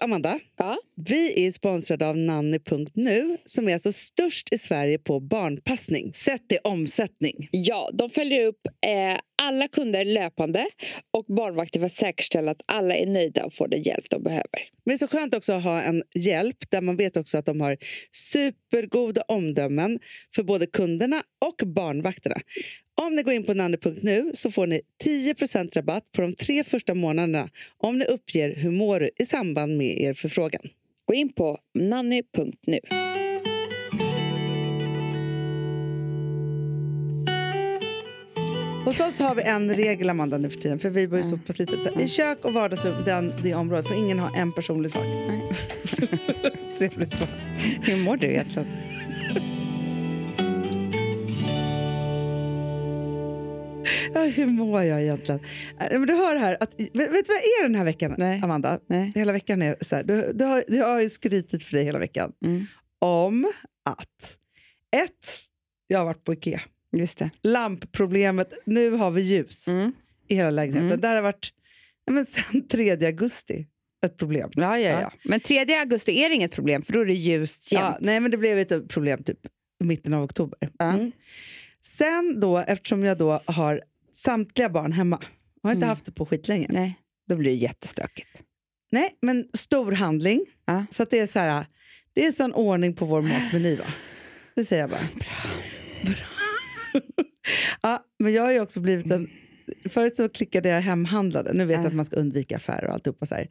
Amanda, Ja. vi är sponsrade av nanny.nu som är alltså störst i Sverige på barnpassning sett i omsättning. Ja, de följer upp eh, alla kunder löpande och barnvakter för att säkerställa att alla är nöjda och får den hjälp de behöver. Men det är så skönt också att ha en hjälp där man vet också att de har supergoda omdömen för både kunderna och barnvakterna. Om ni går in på nanny.nu så får ni 10 rabatt på de tre första månaderna om ni uppger hur mår du i samband med er förfrågan. Gå in på nanny.nu. Hos oss har vi en regel, Amanda, nu för tiden. För vi bor ju så Mm. pass litet. Så här, I kök och vardagsrum, den, det området, får ingen ha en personlig sak. Trevligt. Hur mår du egentligen? Ja, hur mår jag egentligen? Äh, Men du hör här, att, vet, vet du vad jag är den här veckan, Nej. Amanda? Nej. Hela veckan är så här, du, du har, jag har ju skrytit för dig hela veckan Mm. om att ett, jag har varit på Ikea. Just det. Lampproblemet, nu har vi ljus Mm. i hela lägenheten. Mm. Där har varit, ja, men sen 3 augusti, ett problem. Ja, ja, ja. Men 3 augusti är det inget problem, för då är det ljust jämt. Ja, nej, men det blev ett problem typ i mitten av oktober. Ja. Mm. Sen då, eftersom jag då har samtliga barn hemma, jag har inte Mm. haft det på skitlänge. Nej, Då blir det jättestökigt. Nej, men stor handling. Ja. Så att det är så här, det är sån ordning på vår matmeny va? Det säger jag bara. Bra. ja, men jag har ju också blivit en... Förut så klickade jag hemhandlade. Nu vet jag Ja. att man ska undvika affärer och alltihopa så här.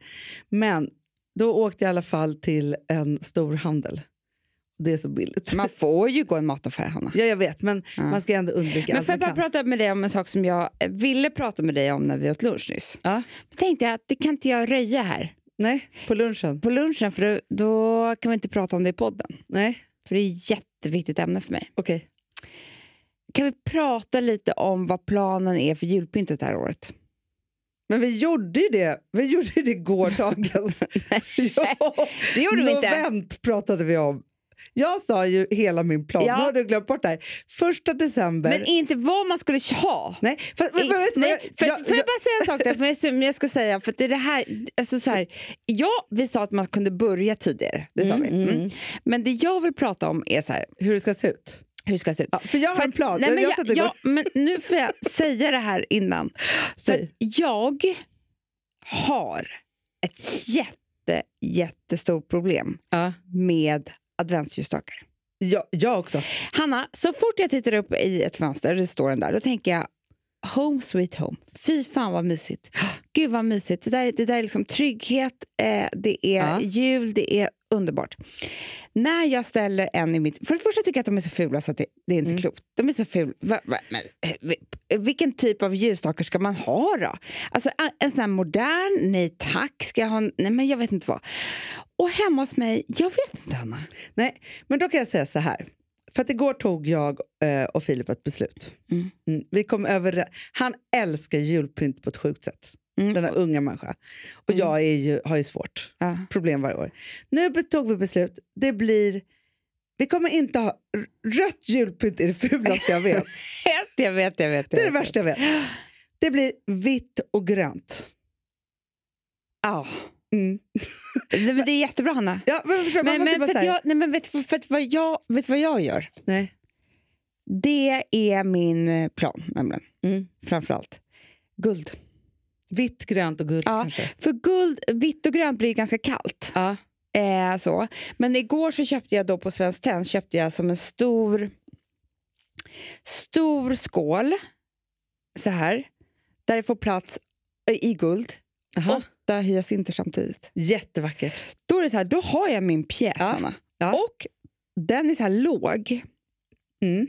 Men då åkte jag i alla fall till en stor handel. Det är så billigt. Man får ju gå i mataffär, Hanna. Ja, jag vet, men Ja. man ska ändå undvika Men allt får jag man bara kan. prata med dig om en sak som jag eh, ville prata med dig om när vi åt lunch nyss? Ja. Då tänkte jag att det kan inte jag röja här Nej, på lunchen. på lunchen, för då, då kan vi inte prata om det i podden. Nej, För det är ett jätteviktigt ämne för mig. okej. Kan vi prata lite om vad planen är för julpyntet det här året? Men vi gjorde ju det, vi gjorde ju det gårdagen. ja. Det gjorde vi inte. Novent pratade vi om. Jag sa ju hela min plan. Ja. Nu har du glömt bort det här. Första december. Men inte vad man skulle ha. nej, fast, men, men, vet du vad Nej, jag- för, jag- får jag jag- bara säga en sak där, för jag, som jag ska säga, för att det är det här, alltså så här, ja, vi sa att man kunde börja tidigare, det sa Mm, vi. Mm. mm. Men det jag vill prata om är så här, Hur det ska se ut. hur det ska se ut. Ja, för jag har en plan. Nej, men, jag, jag, satt jag, igår- men nu får jag säga det här innan. För Säg. att jag har ett jätte, jättestort problem ja. med adventsljusstakar. jag, jag också. Hanna, så fort jag tittar upp i ett fönster och det står den där, då tänker jag Home sweet home. Fy fan vad mysigt. Gud vad mysigt. Det där, det där är liksom trygghet, eh, det är Ja. jul, det är underbart. När jag ställer en i mitt... För det första tycker jag att de är så fula så att det, det är inte Mm. klokt. De är så fula. Va, va, men, eh, vi- vilken typ av ljusstakar ska man ha då? Alltså a- en sån här modern, nej tack, ska jag ha en, Nej men jag vet inte vad. Och hemma hos mig, jag vet inte Hanna. Nej, men då kan jag säga så här. För att igår tog jag eh, och Filip ett beslut. Mm. Mm, vi kom över, han älskar julpynt på ett sjukt sätt. Mm. Denna unga människa. Och Mm. jag är ju, har ju svårt. Ja. problem varje år. Nu tog vi beslut. Det blir... Vi kommer inte ha... Rött julpynt är det fulaste jag vet. Jag vet, jag vet. Det är det värsta jag vet. Det blir vitt och grönt. Ja. Mm. Nej, men det är jättebra, Hanna. Ja, men förstår, Men, man måste men, bara för så att här, jag, nej, men vet, du- för att vad jag, vet du vad jag gör? Nej. Det är min eh, plan, nämligen. Mm. Framför allt. Guld. Vitt, grönt och gult Ja. kanske. För guld, vitt och grönt blir ganska kallt. Ja. Eh, så. Men igår så köpte jag då på Svenskt Tenn köpte jag som en stor, stor skål, så här, där det får plats eh, i guld. Aha. Åtta hyacinter samtidigt. Jättevackert. Då är det så här, då har jag min pjäs, Ja. Hanna. Ja. Och den är så här låg. Mm.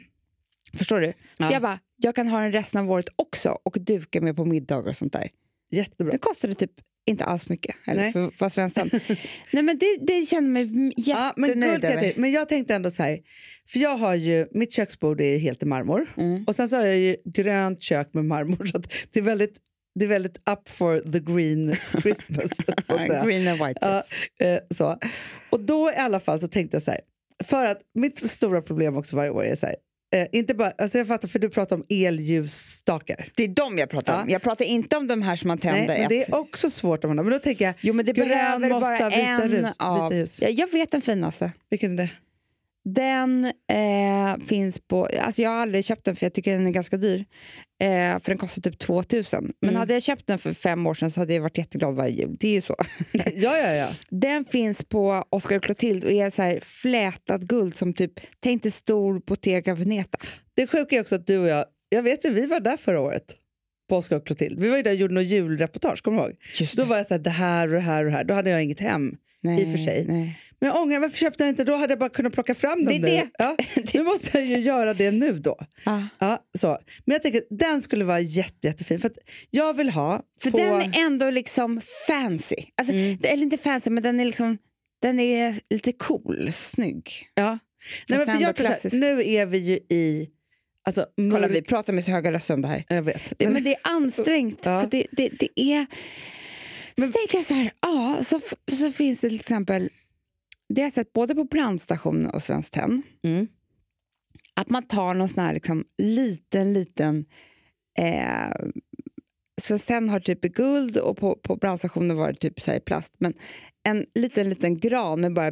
Förstår du? Ja. Så jag bara, jag kan ha den resten av året också och duka med på middagar och sånt där. Jättebra. Det kostade typ inte alls mycket. Eller Nej. för för svenskan. Nej men det, det kände mig m- Ja, men, jättenöjd guld, kan jag över. tänka- men jag tänkte ändå så här. För jag har ju, mitt köksbord är ju helt i marmor. Mm. Och sen så har jag ju grönt kök med marmor. Så att det, är väldigt, det är väldigt up for the green Christmas. så att säga. Green and white. Ja, eh, så. Och då i alla fall så tänkte jag så här. För att mitt stora problem också varje år är så här. Eh, inte bara, alltså jag fattar, för du pratar om elljusstakar. Det är de jag pratar om. Ja. Jag pratar inte om de här som man Nej, tänder. men det ett- är också svårt. Om man, men då tänker jag, Jo, men det grön behöver mossa, bara vita en rus- av... vita ljus. Ja, jag vet den finaste. vilken är det? Den eh, finns på... Alltså jag har aldrig köpt den för jag tycker den är ganska dyr. Eh, för den kostar typ 2000. Men Mm. hade jag köpt den för fem år sedan så hade jag varit jätteglad varje jul. Det är ju så. ja, ja, ja. Den finns på Oscar och Clotilde och är så här flätat guld som typ... Tänk dig stor Bottega Veneta. Det sjuka är också att du och jag, jag vet ju vi var där förra året. På Oscar och Clotilde. Vi var ju där och gjorde något julreportage, kommer du ihåg? Just Då var jag så här, det här och det här och det här. Då hade jag inget hem. nej, i och för sig. Nej. Men jag ångrar, varför köpte jag inte då? Hade jag bara kunnat plocka fram den Det är nu. Ja, nu måste jag ju göra det nu då. Ja. Ja, så. Men jag tänker att den skulle vara jätte, jättefin. För att jag vill ha För på... den är ändå liksom fancy. Alltså, Mm. det- Eller inte fancy, men den är liksom den är lite cool, snygg. Ja. Nej, men ändå för jag tror så här, klassisk. nu är vi ju i... Alltså, Kolla, mörk- vi pratar med så höga röster om det här. Jag vet. Det, Men, men det är ansträngt, Ja. för det, det, det är... Men, så tänker jag så här, ja, så, f- så finns det till exempel... Det har jag sett både på brandstationen och Svenskt Tenn. Mm. Att man tar någon sån här liksom, liten, liten... Eh, Svenskt Tenn har typ i guld och på, på brandstationen var det typ så här i plast. Men en liten, liten gran med bara...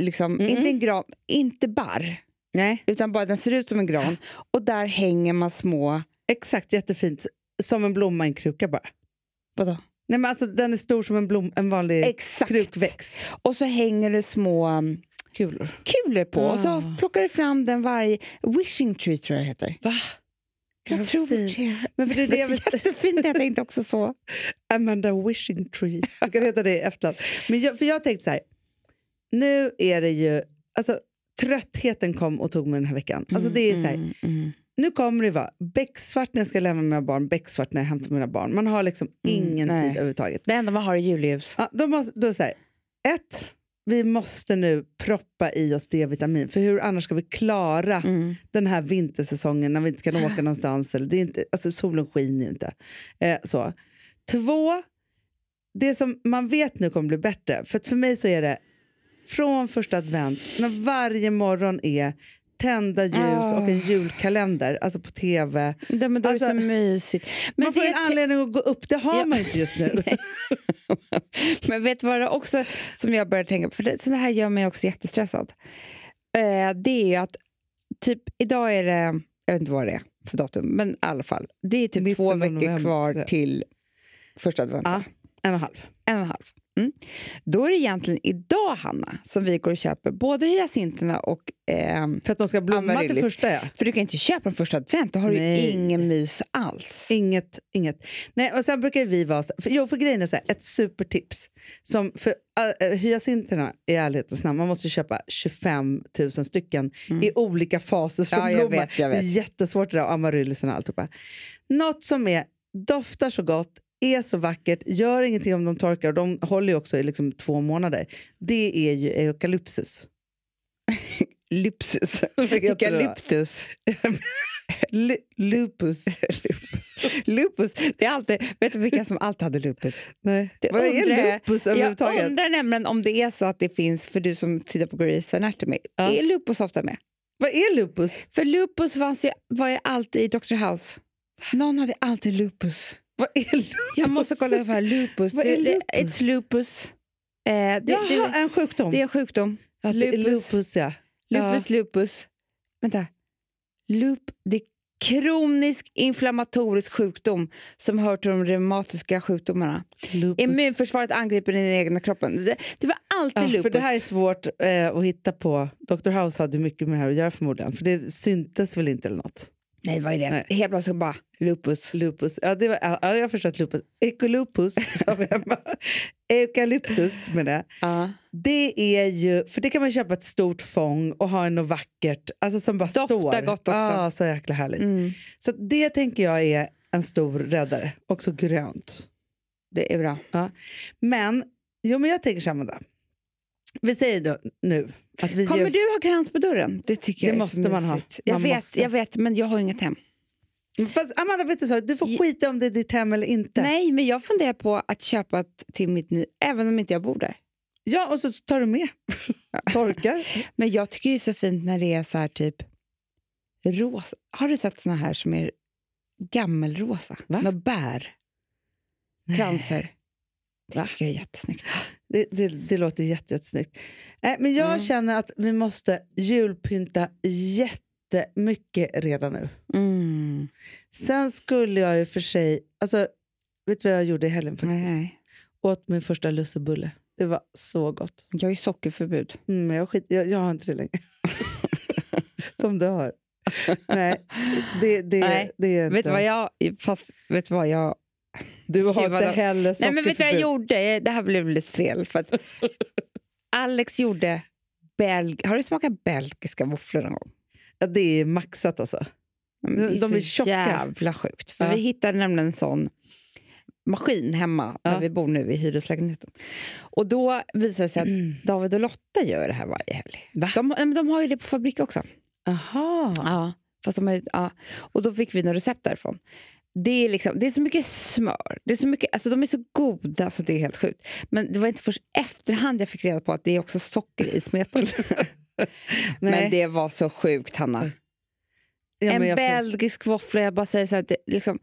Liksom, Mm. Inte en gran, inte barr, Nej, utan bara den ser ut som en gran. Och där hänger man små... exakt. Jättefint. Som en blomma i en kruka bara. Vadå? Nej, men alltså, den är stor som en, blom, en vanlig Exakt. krukväxt. Och så hänger det små um, Kulor. kulor på. Och så Ah. plockar du fram den varje... Wishing tree tror jag det heter. Va? Jag Vad tror fint. det. Men för det är det jag vill Jättefint, jag tänkte också så. Amanda Wishing Tree. Du kan heta det i efternamn. Men jag, för jag tänkte så här, nu är det ju... Alltså, tröttheten kom och tog mig den här veckan. Alltså, det är så här, Mm, mm, Nu kommer det vara becksvart när jag ska lämna mina barn, becksvart när jag hämtar mina barn. Man har liksom Mm, ingen nej. tid överhuvudtaget. Det enda man har är julljus. Ja, då, måste, då är det så här, ett, vi måste nu proppa i oss D-vitamin. För hur annars ska vi klara Mm. den här vintersäsongen när vi inte kan åka någonstans. Eller det är inte, alltså solen skiner ju inte. Eh, så. Två, det som man vet nu kommer bli bättre. För att för mig så är det från första advent, när varje morgon är tända ljus Ah. och en julkalender, alltså på tv. Det, men då är Alltså, det så mysigt. Men, man får det en anledning att gå upp, det har Ja. man inte just nu. men vet du vad det också som jag börjar tänka på? För det, så det här gör mig också jättestressad. Eh, det är ju att typ idag är det, jag vet inte vad det är för datum, men i alla fall. Det är typ Mitten två av veckor november, så. kvar till första advent. Ja. en och en halv. En och en halv. Mm. Då är det egentligen idag, Hanna, som vi går och köper både hyacinterna och... ehm, För att de ska blomma till Amaryllis. första ja. för du kan ju inte köpa en första advent, då har du ju Nej. ingen mys alls. Inget, inget. Nej, och sen brukar ju vi vara... så- För, jo, för grejen är så här, ett supertips. Som för äh, hyacinterna, i ärlighetens namn, man måste ju köpa 25 000 stycken i olika faser som Mm. Ja, jag blommar. vet, jag vet. Det är jättesvårt det där, och amaryllisarna och alltihopa. Något som är, doftar så gott, är så vackert, gör ingenting om de torkar och de håller ju också i liksom två månader. Det är ju eukalyptus. Lypsus. Vad heter det då? Eukalyptus. Lu- lupus. Lupus. Det är alltid, vet du vilka som alltid hade lupus? Nej. Det Vad undrar- är lupus Jag överhuvudtaget? undrar nämligen om det är så att det finns, för du som tittar på Grey's Anatomy, Ja. är lupus ofta med? Vad är lupus? För lupus fanns ju, var ju alltid i Dr. House. Någon hade alltid lupus. Vad är lupus? Jag måste kolla upp här. Lupus. Vad det, är Det, lupus? it's lupus. Eh, det, Jaha, det, en sjukdom. det är en sjukdom. Ja, det är lupus. lupus, ja. Lupus, lupus. Vänta. Lup, det är kronisk inflammatorisk sjukdom som hör till de reumatiska sjukdomarna. Lupus. Immunförsvaret angriper den egna kroppen. Det, det var alltid Ja, lupus. för det här är svårt eh, att hitta på. Dr. House hade ju mycket med det här att göra förmodligen. För det syntes väl inte eller något. Nej, vad är det? Nej. Helt plötsligt bara lupus. Lupus. Ja, det var, ja, jag har förstått lupus. Ekolupus, sa vi hemma. Eukalyptus menar jag. Ja. Det är ju, för det kan man köpa ett stort fång och ha i något vackert. Alltså som bara Doftar står. gott också. Ja, så jäkla härligt. Mm, Så att det tänker jag är en stor räddare. Också grönt. det är bra. Men, jo, men jag tänker så här, Amanda. Vi säger då, nu att vi ger Kommer oss, du ha gräns på dörren? Det tycker jag Det är så måste man ha. mysigt. Jag Man vet, måste. jag vet, men jag har inget hem. Fast Amanda, vet du, så, du får Ja. skita om det är ditt hem eller inte. Nej, men jag funderar på att köpa ett till mitt ny, även om inte jag bor där. Ja, och så tar du med. Torkar. Men jag tycker ju det är så fint när det är så här typ rosa. Har du sett såna här som är gammelrosa? Va? Några bär. Kranser. Det Va? tycker jag är jättesnyggt. Det, det, det låter jätte, jättesnyggt. Nej, men jag Mm. känner att vi måste julpynta jättemycket redan nu. Mm. Sen skulle jag ju för sig... Alltså, vet du vad jag gjorde i helgen? faktiskt? Nej. Åt min första lussebulle. Det var så gott. Jag är sockerförbud. Mm, men jag, skit, jag, jag har inte det längre. Som du har. Nej, det, det, Nej. det är inte... Vet du vad jag... Fast, vet du vad jag... Du har Gud, inte vad de- heller Nej, men vet du vad jag sockerförbud. gjorde? Det här blev lite fel. För att Alex gjorde... Belg... Har du smakat belgiska våfflor någon gång? Ja, det är maxat alltså. Ja, men De- det är, de är så tjocka. jävla sjukt. För Ja. Vi hittade nämligen en sån maskin hemma Ja. där vi bor nu i hyreslägenheten. Och då visade det sig att David och Lotta gör det här varje helg. Va? De, nej, men de har ju det på fabrik också. Aha. Ja. Fast de har, ju- ja. Och då fick vi några recept därifrån. Det är, liksom, det är så mycket smör. Det är så mycket, alltså de är så goda så det är helt sjukt. Men det var inte först efterhand jag fick reda på att det är också socker i smeten. Nej. men det var så sjukt, Hanna. ja, men en jag får- belgisk våffla. Jag bara säger så här, det, liksom,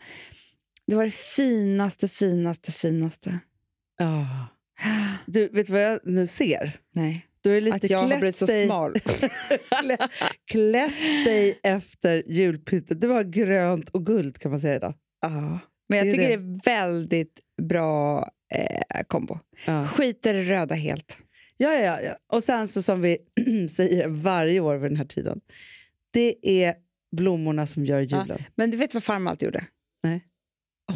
det var det finaste, finaste, finaste. Ja. Du, vet du vad jag nu ser? Nej, Du är lite att jag klätt har blivit så dig, smal. klä, klätt dig efter julpyntet. Du har grönt och guld kan man säga idag. ja. Men jag Det är tycker det det. är väldigt bra eh, kombo. Ja. Skiter i det röda helt. Ja, ja, ja. Och sen så som vi säger varje år vid den här tiden. Det är blommorna som gör Ja. julen. Men du vet vad farmor alltid gjorde? Nej.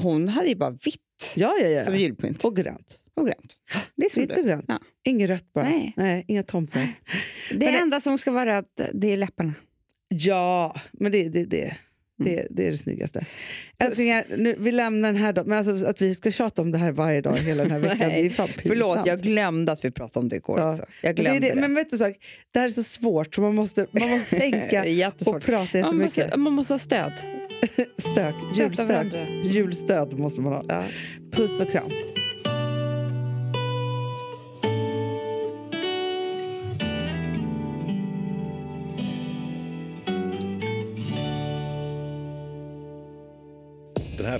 Hon hade ju bara vitt Ja, ja, ja. som julpynt. Och grönt. Och grönt. Det är som Vitt och du. grönt. Ja. Inget rött bara. Nej. inga tomtar. Det det- enda som ska vara rött, det är läpparna. Ja, men det, det, Mm. det. Det, det är det snyggaste. Älsklingar, nu, vi lämnar den här dagen. Men alltså, att vi ska tjata om det här varje dag hela den här veckan, det är fan pinsamt. glömde att vi pratade om det igår Ja. också. Jag Men det, är det. Men vet du en sak? Det här är så svårt så man måste, man måste tänka och prata Eh, Man jättemycket. måste, man måste ha stöd. Stök, julstök. varandra. Julstöd måste man ha. Puss och kram. Den här